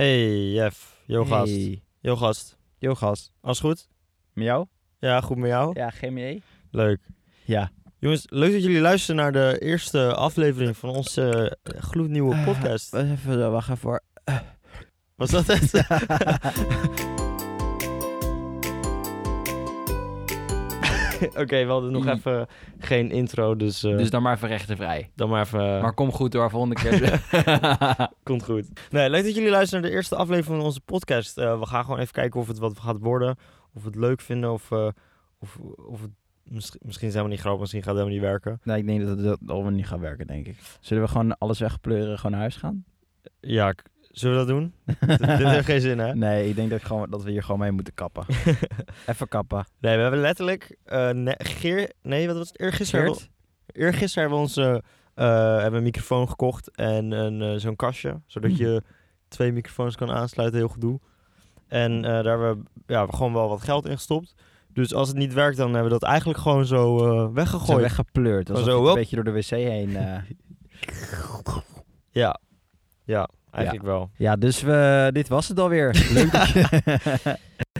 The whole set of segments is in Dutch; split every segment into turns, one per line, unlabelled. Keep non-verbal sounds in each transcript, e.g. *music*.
Hey Jeff, yo gast.
Hey.
Yo gast,
Yo gast,
alles goed?
met jou?
Ja, goed met jou?
Ja, GME.
Leuk.
Ja.
Jongens, leuk dat jullie luisteren naar de eerste aflevering van onze eh, gloednieuwe podcast.
Ah, Wacht even, eh, wacht even hoor.
Was dat
*laughs*
het? Oké, we hadden nog
Mm.
even geen intro, dus, eh,
Dus dan maar even recht en vrij.
dan maar even... eh,
Maar kom goed door, volgende
*laughs*
keer.
Komt goed. Nee, leuk dat jullie luisteren naar de eerste aflevering van onze podcast. Eh, we gaan gewoon even kijken of het wat gaat worden. Of we het leuk vinden. Of, eh, of, of het misschien, misschien zijn we niet grappig. Misschien gaat het helemaal niet werken.
Nee, ik denk dat het allemaal niet gaat werken, denk ik. Zullen we gewoon alles wegpleuren, gewoon naar huis
*laughs*
gaan?
Ja, ik- zullen we dat doen? dit dit heeft geen zin, hè? *laughs*
nee, ik denk dat, ik gewoon, dat we hier gewoon mee moeten kappen. even kappen.
Nee, we hebben letterlijk... eh ne- geer, nee, wat was het? Eergisteren hebben
Geert?
we- eergisteren hebben we ons eh, eh, hebben we een microfoon gekocht. En een, eh, zo'n kastje. Zodat je twee microfoons kan aansluiten. Heel gedoe. En eh, daar hebben we ja, gewoon wel wat geld in gestopt. Dus als het niet werkt, dan hebben we dat eigenlijk gewoon zo eh,
Zo
weggegooid.
weggepleurd, alsof
Zo,
het
hop.
een beetje door de wc heen. eh.
Ja. Ja, eigenlijk wel.
*laughs* Ja, dus we, dit was het *laughs* alweer. Leuk dat je...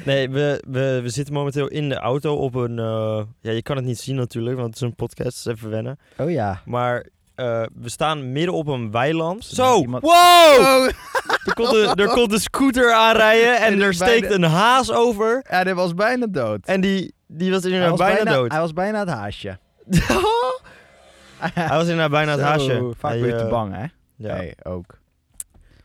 Nee, we, we, we zitten momenteel in de auto op een... eh, ja, je kan het niet zien natuurlijk, want het is een podcast. dus even wennen.
*laughs* oh ja.
Maar eh, we staan midden op een weiland.
Er
Zo!
gaat iemand-
Wow!
Oh,
Er komt, een, er komt een scooter *laughs* aanrijden en
En
er
is
steekt een
bijna-
haas over.
Ja, dit was bijna dood.
En die, die was
Hij
inderdaad
was
bijna, *laughs*
bijna,
dood.
hij was bijna het haasje.
Hij was inderdaad bijna het
Zo,
haasje.
Vaak
Hij,
ben je
eh,
te bang, hè?
ja.
Nee, ook.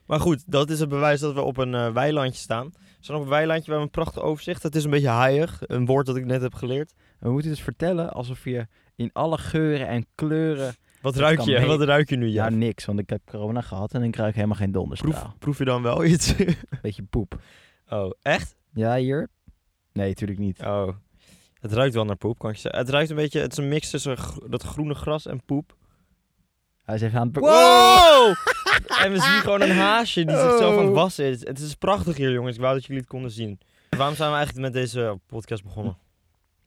Maar goed, dat is het bewijs dat we op een eh, weilandje staan. We staan op een weilandje, we hebben een prachtig overzicht. Het is een beetje haaiig, een woord dat ik net heb geleerd.
We moeten dus vertellen alsof je in alle geuren en kleuren
Wat
Dat
ruik
kan
je?
mee.
Wat ruik je nu,
Ja,
Jan?
niks, want ik heb corona gehad en ik ruik helemaal geen
nou, proef,
donderstraal.
proef je dan wel iets? *laughs*
*laughs* Beetje poep.
oh, echt?
Ja, hier? Nee, natuurlijk niet.
Oh. Het ruikt wel naar poep, kan ik je zeggen. Het ruikt een beetje, het is een mix tussen gro- dat groene gras en poep.
Hij is even aan het...
Wow! *laughs* en we zien gewoon een haasje die zichzelf aan het
Oh.
wassen is. Het is prachtig hier, jongens. Ik wou dat jullie het konden zien. Waarom zijn we eigenlijk met deze podcast
*laughs*
begonnen?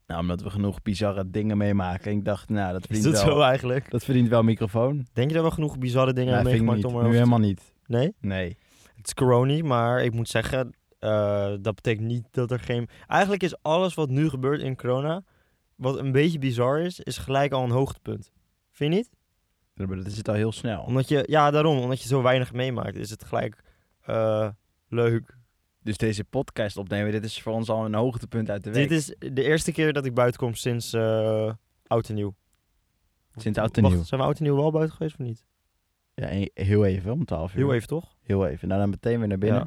Nou, omdat we genoeg bizarre dingen meemaken. Ik dacht, nou, dat
Is
verdient,
dat
wel,
zo eigenlijk?
dat verdient wel een microfoon.
Denk je dat we genoeg bizarre dingen
Nee,
hebben
vind ik
meegemaakt
niet.
om
Nu
erover te-
helemaal niet.
Nee?
Nee.
Het is corona, maar ik moet zeggen, eh, dat betekent niet dat er geen... Eigenlijk is alles wat nu gebeurt in corona, wat een beetje bizar is, is gelijk al een hoogtepunt. Vind je niet?
Ja, maar Dat is het al heel snel.
Omdat je, ja, daarom, omdat je zo weinig meemaakt, is het gelijk eh, leuk.
Dus deze podcast opnemen, dit is voor ons al een hoogtepunt uit de week.
Dit is de eerste keer dat ik buiten kom sinds eh oud en nieuw.
Sinds oud en nieuw.
Wacht, zijn we oud en nieuw wel buiten geweest of niet?
Ja, en heel even, om 12 uur.
Heel even toch?
Heel even. Nou, dan meteen weer naar binnen.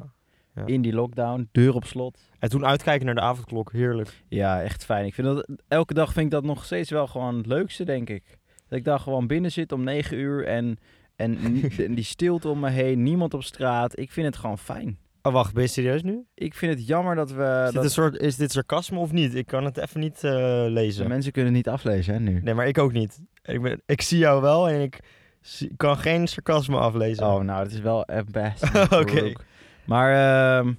Ja. Ja.
In die lockdown, deur op slot.
En toen uitkijken naar de avondklok, heerlijk.
Ja, echt fijn. Ik vind dat, elke dag vind ik dat nog steeds wel gewoon het leukste, denk ik. Dat ik daar gewoon binnen zit om negen uur en, en, *laughs* ni- en die stilte om me heen, niemand op straat. Ik vind het gewoon fijn.
Oh, wacht, ben je serieus nu?
Ik vind het jammer dat we...
Is dit,
Dat
een soort, is dit sarcasme of niet? Ik kan het even niet eh, lezen.
Mensen kunnen het niet aflezen, hè, nu.
Nee, maar ik ook niet. Ik, ben, ik zie jou wel en ik zie- kan geen sarcasme aflezen.
Oh, nou, het is wel best. *laughs*
Oké.
Maar ehm,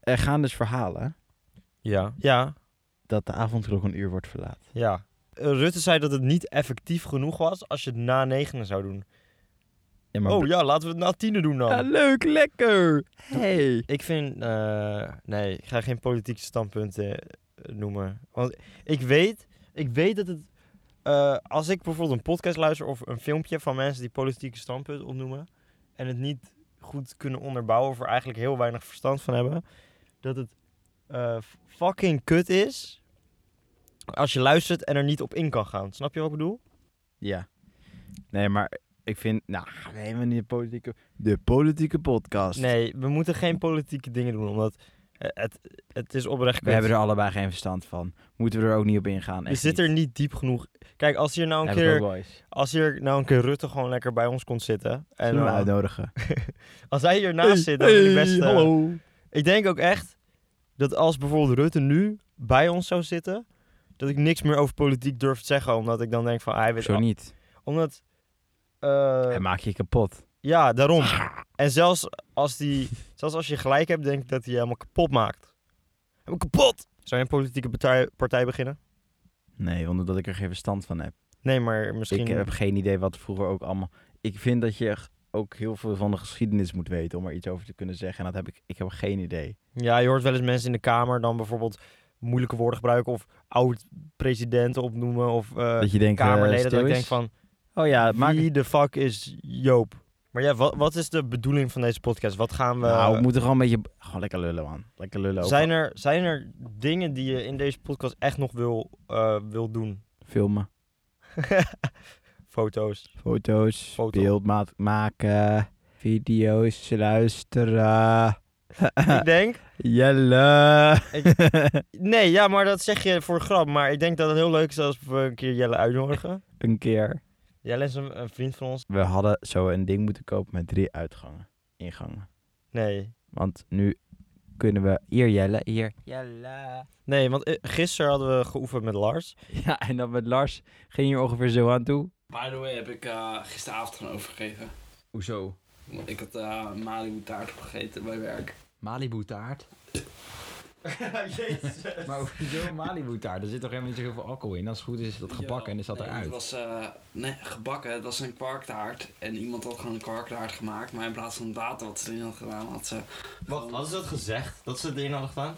er gaan dus verhalen
Ja. Ja,
dat de avondklok een uur wordt verlaat.
ja. Eh, Rutte zei dat het niet effectief genoeg was als je het na negenen zou doen.
Ja, maar
oh ja, laten we het na tienen doen dan.
Ja, leuk, lekker. Hey.
Ik vind... eh, nee, ik ga geen politieke standpunten eh, noemen. Want ik weet, ik weet dat het... eh, als ik bijvoorbeeld een podcast luister of een filmpje van mensen die politieke standpunten opnoemen... en het niet goed kunnen onderbouwen of er eigenlijk heel weinig verstand van hebben... dat het eh, fucking kut is als je luistert en er niet op in kan gaan. Snap je wat ik bedoel?
Ja. Nee, maar ik vind... Nou, we hebben niet de politieke... De politieke podcast.
Nee, we moeten geen politieke dingen doen, omdat... eh, Het, het is oprecht
We
kut.
hebben er allebei geen verstand van. Moeten we er ook niet op ingaan.
Je zit er niet diep genoeg. Kijk, als hier nou een keer,
keer
als hier nou een keer Rutte gewoon lekker bij ons kon zitten. En
en
eh, *laughs*
uitnodigen.
als hij hiernaast zit, dan vind ik best. eh, Ik denk ook echt dat als bijvoorbeeld Rutte nu bij ons zou zitten, dat ik niks meer over politiek durf te zeggen, omdat ik dan denk van, ah, hij weet
Zo
al-
niet.
Omdat, eh,
Hij maakt je kapot.
ja, daarom. En zelfs als die, zelfs als je gelijk hebt, denk ik dat hij je helemaal kapot maakt. Helemaal kapot. Zou je een politieke partij, partij beginnen?
Nee, omdat ik eh, er geen verstand van heb.
Nee, maar misschien.
Ik heb geen idee wat vroeger ook allemaal... Ik vind dat je ook heel veel van de geschiedenis moet weten om er iets over te kunnen zeggen. En dat heb ik, ik heb geen idee.
Ja, je hoort wel eens mensen in de Kamer dan bijvoorbeeld moeilijke woorden gebruiken of oud-presidenten opnoemen of eh,
dat je denkt, eh,
Kamerleden.
stil
dat ik denk
eens.
van,
Oh ja, maak
wie de fuck is Joop? Maar ja, wat, wat is de bedoeling van deze podcast? Wat gaan we...
Nou, we moeten gewoon een beetje... Gewoon lekker lullen, man. Lekker lullen. ook.
Eh. zijn, er, zijn er dingen die je in deze podcast echt nog wil, eh, wil doen?
Filmen, *laughs*
Foto's.
foto's,
Foto.
beeld ma- maken, video's luisteren.
ik denk...
Jelle.
Nee, ja, maar dat zeg je voor grap. Maar ik denk dat het heel leuk is als we een keer Jelle uitnodigen.
*laughs* een keer.
Jelle is een, een vriend van ons.
We hadden zo een ding moeten kopen met drie uitgangen. Ingangen.
Nee.
Want nu kunnen we... Hier Jelle, hier Jelle.
Nee, want eh, gisteren hadden we geoefend met Lars.
*laughs* Ja, en dan met Lars ging je ongeveer zo aan toe.
By the way, heb ik eh, gisteravond gewoon overgegeven.
Hoezo?
Want ik had eh Malibu taart opgegeten bij werk.
Malibu taart?
Jezus.
Maar hoezo Malibu taart? Er zit toch helemaal niet zoveel alcohol in? Als het goed is, is dat gebakken en is dat
Nee, Het
eruit.
was eh, nee, gebakken, het was een kwarktaart. En iemand had gewoon een kwarktaart gemaakt, maar in plaats van het water wat ze erin had gedaan, had ze.
Wacht, hadden ze dat gezegd? Dat ze het erin hadden gedaan?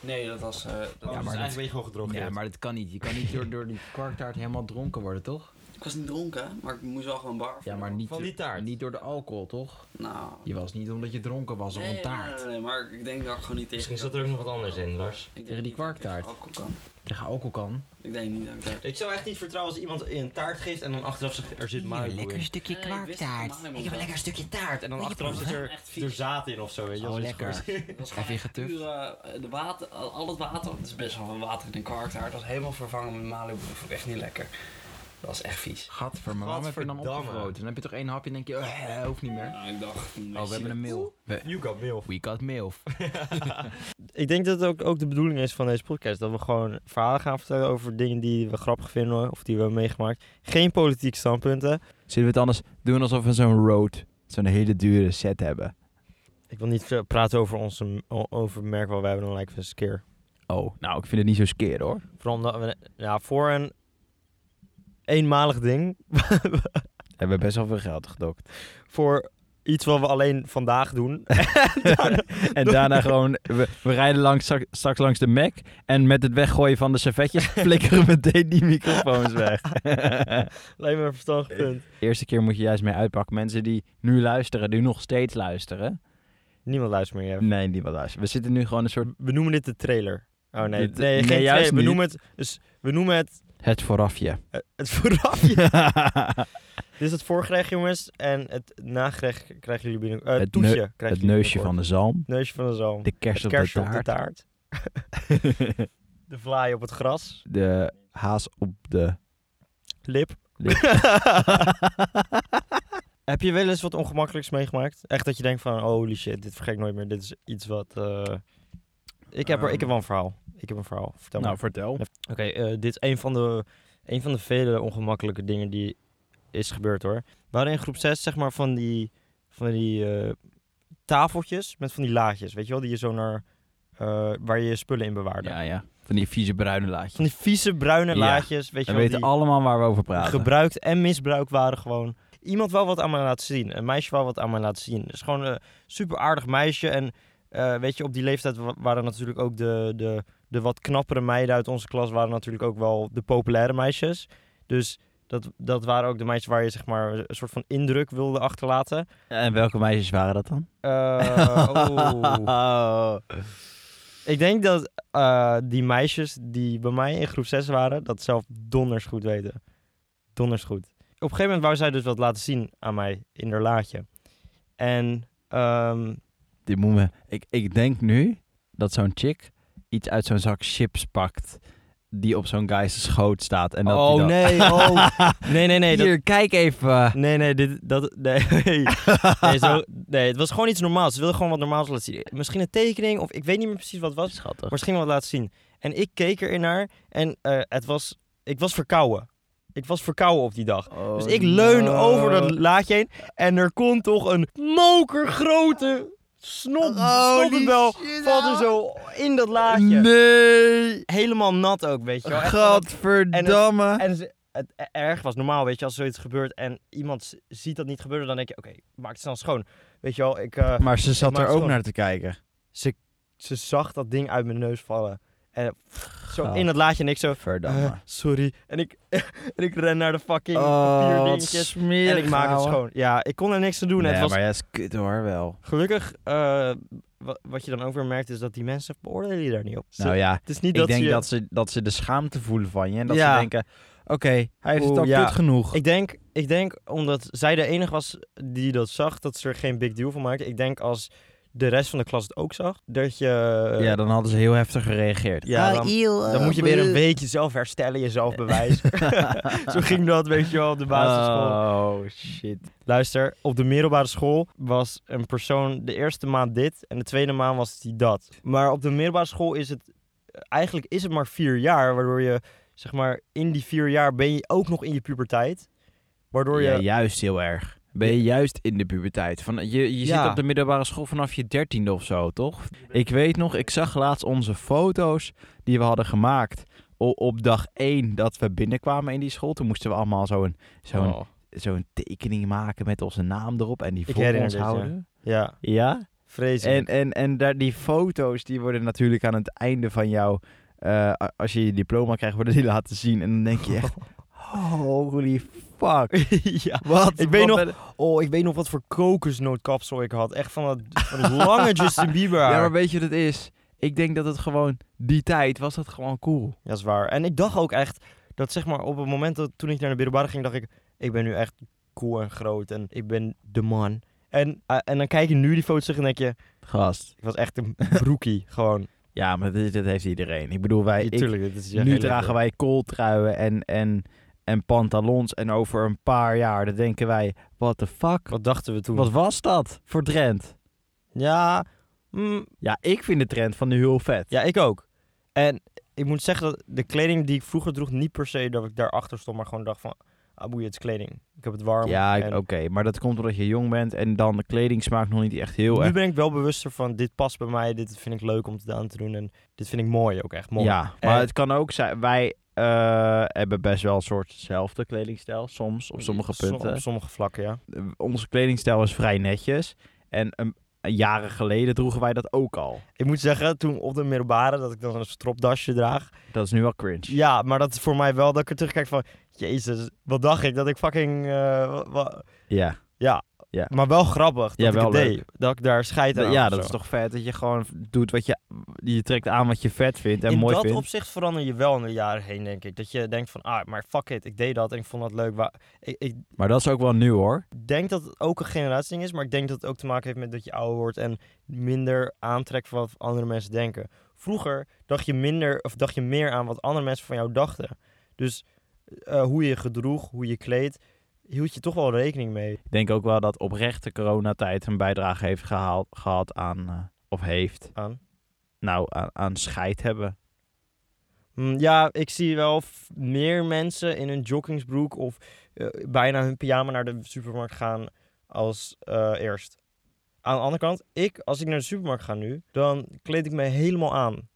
Nee, dat was. eh,
Ja,
dat was
maar
maar
eigenlijk
dat-
ben je gewoon gedroogd.
Ja, maar dat kan niet. Je kan niet door, door die kwarktaart helemaal dronken worden, toch?
Ik was niet dronken, maar ik moest wel gewoon bar.
Ja, maar niet,
Van die taart.
niet door de alcohol, toch?
Nou.
Je was niet omdat je dronken was op een
nee,
taart.
Nee, nee, nee, maar ik denk dat ik gewoon niet tegen.
Misschien zat er ook nog wat anders in, Lars.
Ik
Tegen die kwarktaart.
Alcohol kan.
Tegen alcohol kan.
Ik denk niet dat ik daar.
Ik zou echt niet vertrouwen als iemand een taart geeft en dan achteraf zegt er zit
Een
Malibu in.
stukje
Nee, ik wist het helemaal niet.
stukje taart.
En dan achteraf zit er,
Echt vies.
er zaten in of zo, weet je.
Oh,
wel.
lekker.
Het was
Heb je
gewoon echt
getuft?
puur, eh, de water, al al het water, het is best wel veel water in een kwarktaart, was helemaal vervangen met Malibu. Dat vond ik echt niet lekker. Dat was echt vies.
Gadverdamme, waarom heb je dan
Gadverdamme.
opgevroten? Dan heb je toch één hapje en denk je, eh, hoeft niet meer.
Nou, ik dacht...
Oh, we hebben een mail. We,
You got mail.
we got mail.
*laughs* Ik denk dat het ook, ook de bedoeling is van deze podcast. Dat we gewoon verhalen gaan vertellen over dingen die we grappig vinden of die we hebben meegemaakt. Geen politiek standpunten.
Zullen we het anders doen alsof we zo'n road, zo'n hele dure set hebben?
Ik wil niet veel praten over onze o- over het merk waar wij hebben dan lijkt een keer.
Oh, nou, ik vind het niet zo skeer hoor.
Vooral omdat we, ja, voor een eenmalig ding.
We hebben best wel veel geld gedokt.
Voor iets wat we alleen vandaag *laughs* doen.
*laughs* en daarna gewoon, we, we rijden langs, strak- straks langs de Mac. En met het weggooien van de *laughs* servetjes flikkeren we meteen die microfoons *laughs* weg.
Lijkt me een verstandig punt.
Eerste keer moet je juist mee uitpakken. Mensen die nu luisteren, die nog steeds luisteren.
Niemand luistert meer. Jeff.
Nee, die wel luisteren. We zitten nu gewoon een soort
We noemen dit de trailer. Oh nee,
Dit-
nee,
nee,
geen
juist
trailer. We
niet.
noemen het, dus we noemen het,
het *laughs* voorafje.
eh, het voorafje. *laughs* Dit is het voorgerecht, jongens. En het nagerecht krijgen jullie binnen. eh,
Het
toetje
neu-
krijgen
het
jullie
neusje van
binnenkort.
de zalm.
neusje van de zalm.
De kerst,
het kerstje
op de taart. *laughs*
de vlaai op het gras.
de haas op de
Lip.
Lip.
*laughs* Heb je wel eens wat ongemakkelijks meegemaakt? Echt dat je denkt van, oh, holy shit, dit vergeet ik nooit meer. Dit is iets wat... eh, Ik, heb er, ik
Ehm.
heb wel een verhaal. Ik heb een verhaal. Vertel maar.
Nou, vertel.
Nou, Oké, eh, dit is een van, de, een van de vele ongemakkelijke dingen die is gebeurd hoor. We hadden in groep 6 zeg maar van die, van die eh, tafeltjes met van die laadjes, weet je wel, die je zo naar, eh, waar je je spullen in bewaarde.
Ja, ja. Van die vieze bruine laadjes.
Van die vieze bruine
Ja.
laadjes, weet je
We
wel,
weten
die
allemaal waar we over praten.
gebruikt en misbruikt waren gewoon. Iemand wou wat aan mij laten zien, een meisje wou wat aan mij laten zien. Het is gewoon een super aardig meisje en eh, weet je, op die leeftijd wa- waren natuurlijk ook de, de, de wat knappere meiden uit onze klas waren natuurlijk ook wel de populaire meisjes. Dus dat, dat waren ook de meisjes waar je zeg maar een soort van indruk wilde achterlaten.
En welke meisjes waren dat dan?
Eh, oh. Ik denk dat eh, die meisjes die bij mij in groep 6 waren, dat zelf donders goed weten. Donders goed. Op een gegeven moment wou zij dus wat laten zien aan mij in haar laadje. En ehm,
Die moemen. Ik, ik denk nu dat zo'n chick iets uit zo'n zak chips pakt. Die op zo'n guy's schoot staat. En dat die
oh
dan...
nee, oh.
*laughs*
Nee, nee, nee. Dat,
Hier, kijk even.
nee, nee, dit, dat, nee. *laughs* Nee, zo, nee, het was gewoon iets normaals. Ze wilde gewoon wat normaals laten zien. Misschien een tekening of ik weet niet meer precies wat het was.
Schattig.
Maar ze ging wat laten zien. En ik keek erin naar en eh, het was, ik was verkouden. Ik was verkouden op die dag. Dus
Oh,
ik leun over dat laadje heen en er komt toch een mokergrote snop, snoppenbel valt er zo in dat laadje.
nou. Nee. *laughs*
Helemaal nat ook, weet je wel. Echt van dat-
Gadverdamme.
En ze, het e- erg was. Normaal, weet je, als zoiets gebeurt en iemand z- ziet dat niet gebeuren, dan denk je, oké, maak het snel schoon. Weet je wel, ik, eh,
Maar ze
ik
zat
maak
er
het Eh,
ook
gewoon.
naar te kijken.
ze, ze zag dat ding uit mijn neus vallen. En pff, zo
Oh.
in dat laadje en ik zo,
Verdamme.
eh, sorry. En ik, *laughs* en ik ren naar de fucking
oh, wat
papierdingetjes.
smerig,
En ik maak het
ouwe.
schoon. Ja, ik kon er niks aan doen.
Nee,
het was
maar ja, is kut hoor, wel.
Gelukkig, eh, wa- wat je dan ook weer merkt, is dat die mensen beoordelen je daar niet op. Ze-
nou ja,
het is niet
ik
dat
denk
ze je-
dat, ze, dat ze de schaamte voelen van je. En dat
Ja.
ze denken, oké, hij heeft het
Oeh,
al
ja.
kut genoeg.
Ik denk, ik denk, omdat zij de enige was die dat zag, dat ze er geen big deal van maakte. Ik denk als de rest van de klas het ook zag, dat je...
ja, dan hadden ze heel heftig gereageerd. *laughs*
Ja,
Ah,
dan-
eeuw, eh,
dan moet je weer een
bleh.
beetje zelf herstellen,
*laughs*
jezelf bewijzen. Zo ging dat, weet je wel, op de basisschool.
Oh, shit.
Luister, op de middelbare school was een persoon de eerste maand dit en de tweede maand was die dat. Maar op de middelbare school is het eigenlijk is het maar vier jaar, waardoor je zeg maar in die vier jaar ben je ook nog in je puberteit, waardoor je
Ja, juist heel erg. Ben je juist in de puberteit. Van, je je
Ja.
zit op de middelbare school vanaf je dertiende of zo, toch? Ik weet nog, ik zag laatst onze foto's die we hadden gemaakt o- op dag één dat we binnenkwamen in die school. Toen moesten we allemaal zo'n zo'n
Oh.
zo'n tekening maken met onze naam erop en die
Ik
voor
herinner
ons
dit, ja.
houden.
ja,
Ja?
vreselijk.
En, en, en daar, die foto's die worden natuurlijk aan het einde van jou, eh, a- als je je diploma krijgt, worden die *laughs* laten zien. En dan denk je *laughs* echt, holy fuck.
*laughs* ja.
Wat?
Ik weet nog-
wat ben-
Oh, ik weet nog wat voor kokosnootkapsel ik had. Echt van dat, van dat
*laughs*
lange Justin Bieber haar.
Ja, maar weet je wat het is? Ik denk dat het gewoon, die tijd was dat gewoon cool.
Ja, is waar. En ik dacht ook echt dat zeg maar op het moment dat toen ik naar de middelbare ging, dacht ik, ik ben nu echt cool en groot en ik ben de man. En, eh, en dan kijk je nu die foto's terug en denk je,
Gast.
ik was echt *laughs* een broekie gewoon.
Ja, maar dit, dit heeft iedereen. Ik bedoel, wij,
Ja,
ik,
tuurlijk, dit is je
nu
hele-
dragen wij kooltruien en, en, en pantalons. En over een paar jaar, dan denken wij, what the fuck?
Wat dachten we toen?
Wat was dat voor trend?
Ja, mm,
Ja, ik vind de trend van nu heel vet.
ja, ik ook. En ik moet zeggen dat de kleding die ik vroeger droeg, niet per se dat ik daarachter stond, maar gewoon dacht van, ah boeien, het is kleding. Ik heb het warm.
Ja, ik-
en
oké. Maar dat komt omdat je jong bent en dan de kleding smaakt nog niet echt heel
Nu
erg.
ben ik wel bewuster van, dit past bij mij, dit vind ik leuk om te aan te doen en dit vind ik mooi ook echt mooi.
Ja, maar
En-
het kan ook zijn. Wij eh, hebben best wel een soortzelfde kledingstijl soms op sommige
Som-
punten.
Op sommige vlakken, ja.
Eh, Onze kledingstijl is vrij netjes en een, jaren geleden droegen wij dat ook al.
Ik moet zeggen, toen op de middelbare, dat ik dan een stropdasje draag.
Dat is nu wel cringe.
Ja, maar dat is voor mij wel dat ik er terugkijk van... Jezus, wat dacht ik? Dat ik fucking... eh, wa- wa-
Ja.
maar wel grappig dat
Ja,
ik
wel
het deed. Dat ik daar scheid aan
Dat-
had
ja,
of
dat
zo.
is toch vet dat je gewoon doet wat je je trekt aan wat je vet vindt en
In
mooi
dat
vindt.
opzicht verander je wel in de jaren heen, denk ik. Dat je denkt van, ah, maar fuck it, ik deed dat en ik vond dat leuk. Wa- Ik, ik
Maar dat is ook wel nieuw hoor.
denk dat het ook een generatieding is, maar ik denk dat het ook te maken heeft met dat je ouder wordt en minder aantrekt van wat andere mensen denken. Vroeger dacht je minder of dacht je meer aan wat andere mensen van jou dachten. Dus eh, hoe je je gedroeg, hoe je kleedt, hield je toch wel rekening mee.
Ik denk ook wel dat oprechte coronatijd een bijdrage heeft gehaald, gehad aan, eh, of heeft,
Aan.
nou, aan, aan scheid hebben.
Mm, ja, ik zie wel f- meer mensen in hun joggingsbroek of eh, bijna hun pyjama naar de supermarkt gaan als eh, eerst. Aan de andere kant, ik, als ik naar de supermarkt ga nu, dan kleed ik me helemaal aan.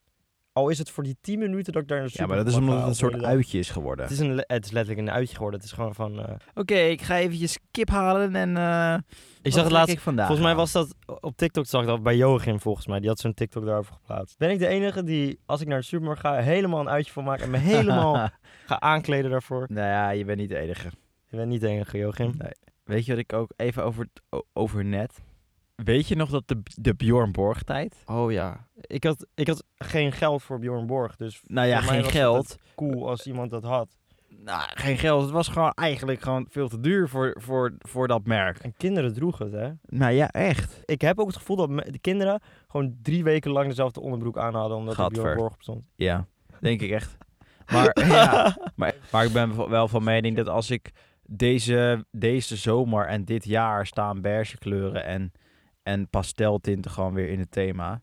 Al is het voor die 10 minuten dat ik daar naar de
Ja,
supermarkt
maar dat is
ga,
omdat het een
of de
soort
hele dag.
uitje is geworden.
Het
Oké,
is, een, le- het is letterlijk een uitje geworden. Het is gewoon van... eh,
ik ga eventjes kip halen en... eh,
ik
wat
zag
trek
het laatst...
ik vandaag
Volgens mij
aan?
was dat op TikTok, zag ik dat bij Joachim volgens mij. Die had zo'n TikTok daarover geplaatst. Ben ik de enige die, als ik naar de supermarkt ga, helemaal een uitje van maak
*laughs*
en me helemaal ga aankleden daarvoor?
nou ja, je bent niet de enige.
Je bent niet de enige, Joachim.
Nee. Weet je wat ik ook even over, het- o- over net... Weet je nog dat de, de Bjorn Borg tijd?
Oh ja. Ik had, ik had geen geld voor Bjorn Borg, dus
Nou ja,
Voor mij
geen
was het
geld.
cool als iemand dat had.
Nou, geen geld. Het was gewoon eigenlijk gewoon veel te duur voor, voor, voor dat merk.
En kinderen droegen het, hè?
Nou ja, echt.
Ik heb ook het gevoel dat me- de kinderen gewoon drie weken lang dezelfde onderbroek aan hadden, omdat er
Gadver.
Bjorn Borg op stond.
Ja, denk ik echt. Maar, *laughs* ja, maar, maar ik ben wel van mening dat als ik deze, deze zomer en dit jaar staan beige kleuren en, en pasteltinten gewoon weer in het thema.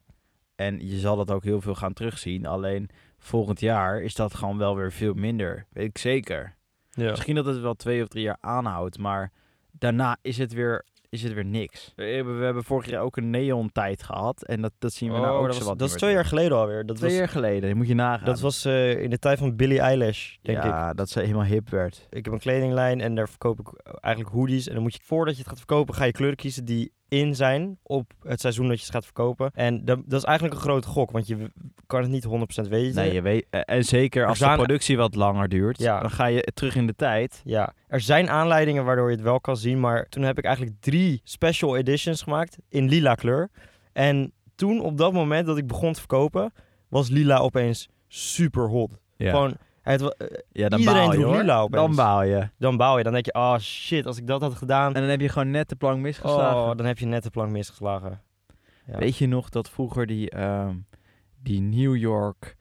En je zal dat ook heel veel gaan terugzien. Alleen volgend jaar is dat gewoon wel weer veel minder. Weet ik zeker.
Ja.
Misschien dat het wel twee of drie jaar aanhoudt. Maar daarna is het weer is het weer niks. We hebben, we hebben vorig jaar ook een neon-tijd gehad. En dat, dat zien we
Oh,
nou ook
dat,
zo
was,
wat
dat
niet
is
meer
twee
terug.
jaar geleden alweer. Dat
Twee
was,
jaar geleden, moet je nagaan.
dat was eh, in de tijd van Billie Eilish, denk ik.
ja, dat ze helemaal hip werd.
Ik heb een kledinglijn en daar verkoop ik eigenlijk hoodies. En dan moet je, voordat je het gaat verkopen, ga je kleuren kiezen die in zijn op het seizoen dat je ze gaat verkopen. En dat, dat is eigenlijk een grote gok, want je w- kan het niet 100% weten.
Nee, je weet, eh, en zeker als de
zijn-
productie wat langer duurt,
Ja.
dan ga je terug in de tijd.
Ja, er zijn aanleidingen waardoor je het wel kan zien, maar toen heb ik eigenlijk drie special editions gemaakt in lila kleur. En toen, op dat moment dat ik begon te verkopen, was lila opeens super hot.
Ja,
Gewoon, het, wa- eh,
ja dan
iedereen
baal je
droeg
hoor.
lila opeens.
Dan baal je.
dan bouw je, dan denk je, ah shit, als ik dat had gedaan,
En dan heb je gewoon net de plank misgeslagen.
oh, dan heb je net de plank misgeslagen. Ja.
Weet je nog dat vroeger die, ehm, die New York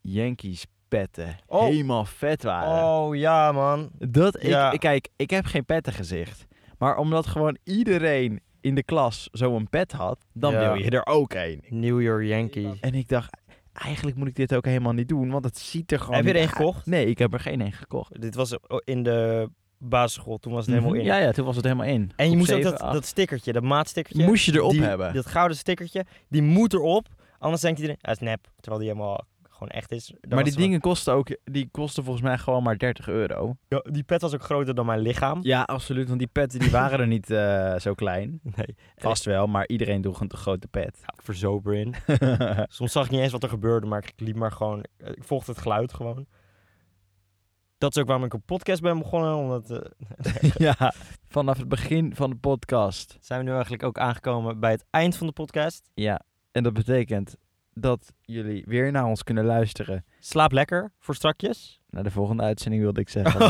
Yankees petten
Oh.
helemaal vet waren?
Oh ja, man.
Dat ik,
Ja.
ik- kijk, ik heb geen pettengezicht. Maar omdat gewoon iedereen in de klas zo'n pet had, dan
Ja.
wil je er ook een.
New York Yankee.
En ik dacht, eigenlijk moet ik dit ook helemaal niet doen, want het ziet er gewoon.
Heb je er
niet
één
uit.
gekocht?
Nee, ik heb er geen één gekocht.
Dit was in de basisschool, toen was het helemaal in.
Mhm. Ja, ja, toen was het helemaal in.
En je
Op
moest ook
zeven,
dat,
acht.
dat stickertje, dat maatstickertje.
moest je erop
die-
hebben.
Dat gouden stickertje, die moet erop. Anders denkt iedereen, hij is nep. Terwijl die helemaal gewoon echt is. Dan
maar
was
die
het wel-
dingen kosten ook, die kosten volgens mij gewoon maar 30 euro.
Ja, die pet was ook groter dan mijn lichaam.
Ja, absoluut. Want die petten die waren er niet eh, zo klein.
Nee,
Vast wel, maar iedereen droeg een te grote *laughs* pet.
ik verzober *laughs* in. Soms zag ik niet eens wat er gebeurde, maar ik liep maar gewoon... eh, Ik volgde het geluid gewoon. Dat is ook waarom ik een podcast ben begonnen, omdat... eh,
ja, vanaf het begin van de podcast.
zijn we nu eigenlijk ook aangekomen bij het eind van de podcast.
Ja, en dat betekent dat jullie weer naar ons kunnen luisteren.
Slaap lekker voor strakjes.
Naar de volgende uitzending wilde ik *laughs* zeggen.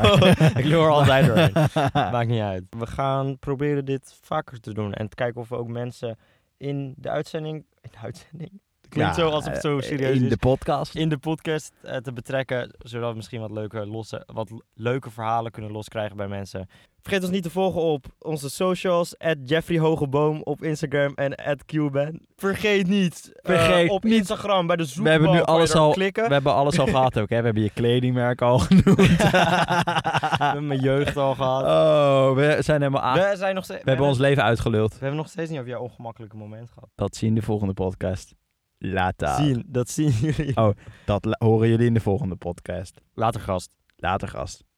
ik loer er altijd doorheen.
*laughs*
Maakt niet uit. We gaan proberen dit vaker te doen. En te kijken of we ook mensen in de uitzending... In de uitzending? Het klinkt zo alsof het zo serieus
eh, In
is.
de podcast.
In de podcast eh, te betrekken. Zodat we misschien wat leuke, losse, wat l- leuke verhalen kunnen loskrijgen bij mensen. Vergeet ons niet te volgen op onze socials. At Jeffrey Hogeboom op Instagram en at QBan. Vergeet niet. eh,
Vergeet
op
niet.
Instagram bij de zoekbalk.
hebben nu
kan je
alles
erop
al-
klikken.
We hebben alles al gehad ook, hè? We hebben je kledingmerk al *laughs* genoemd. *laughs*
We hebben mijn jeugd al gehad.
oh, we zijn helemaal aan. We,
we zijn nog steeds.
hebben ons leven uitgeluld.
We hebben nog steeds niet over jouw ongemakkelijke moment gehad.
Dat zien de volgende podcast. Later.
Zien, dat zien jullie.
Dat la- horen jullie in de volgende podcast.
Later, gast.
Later, gast.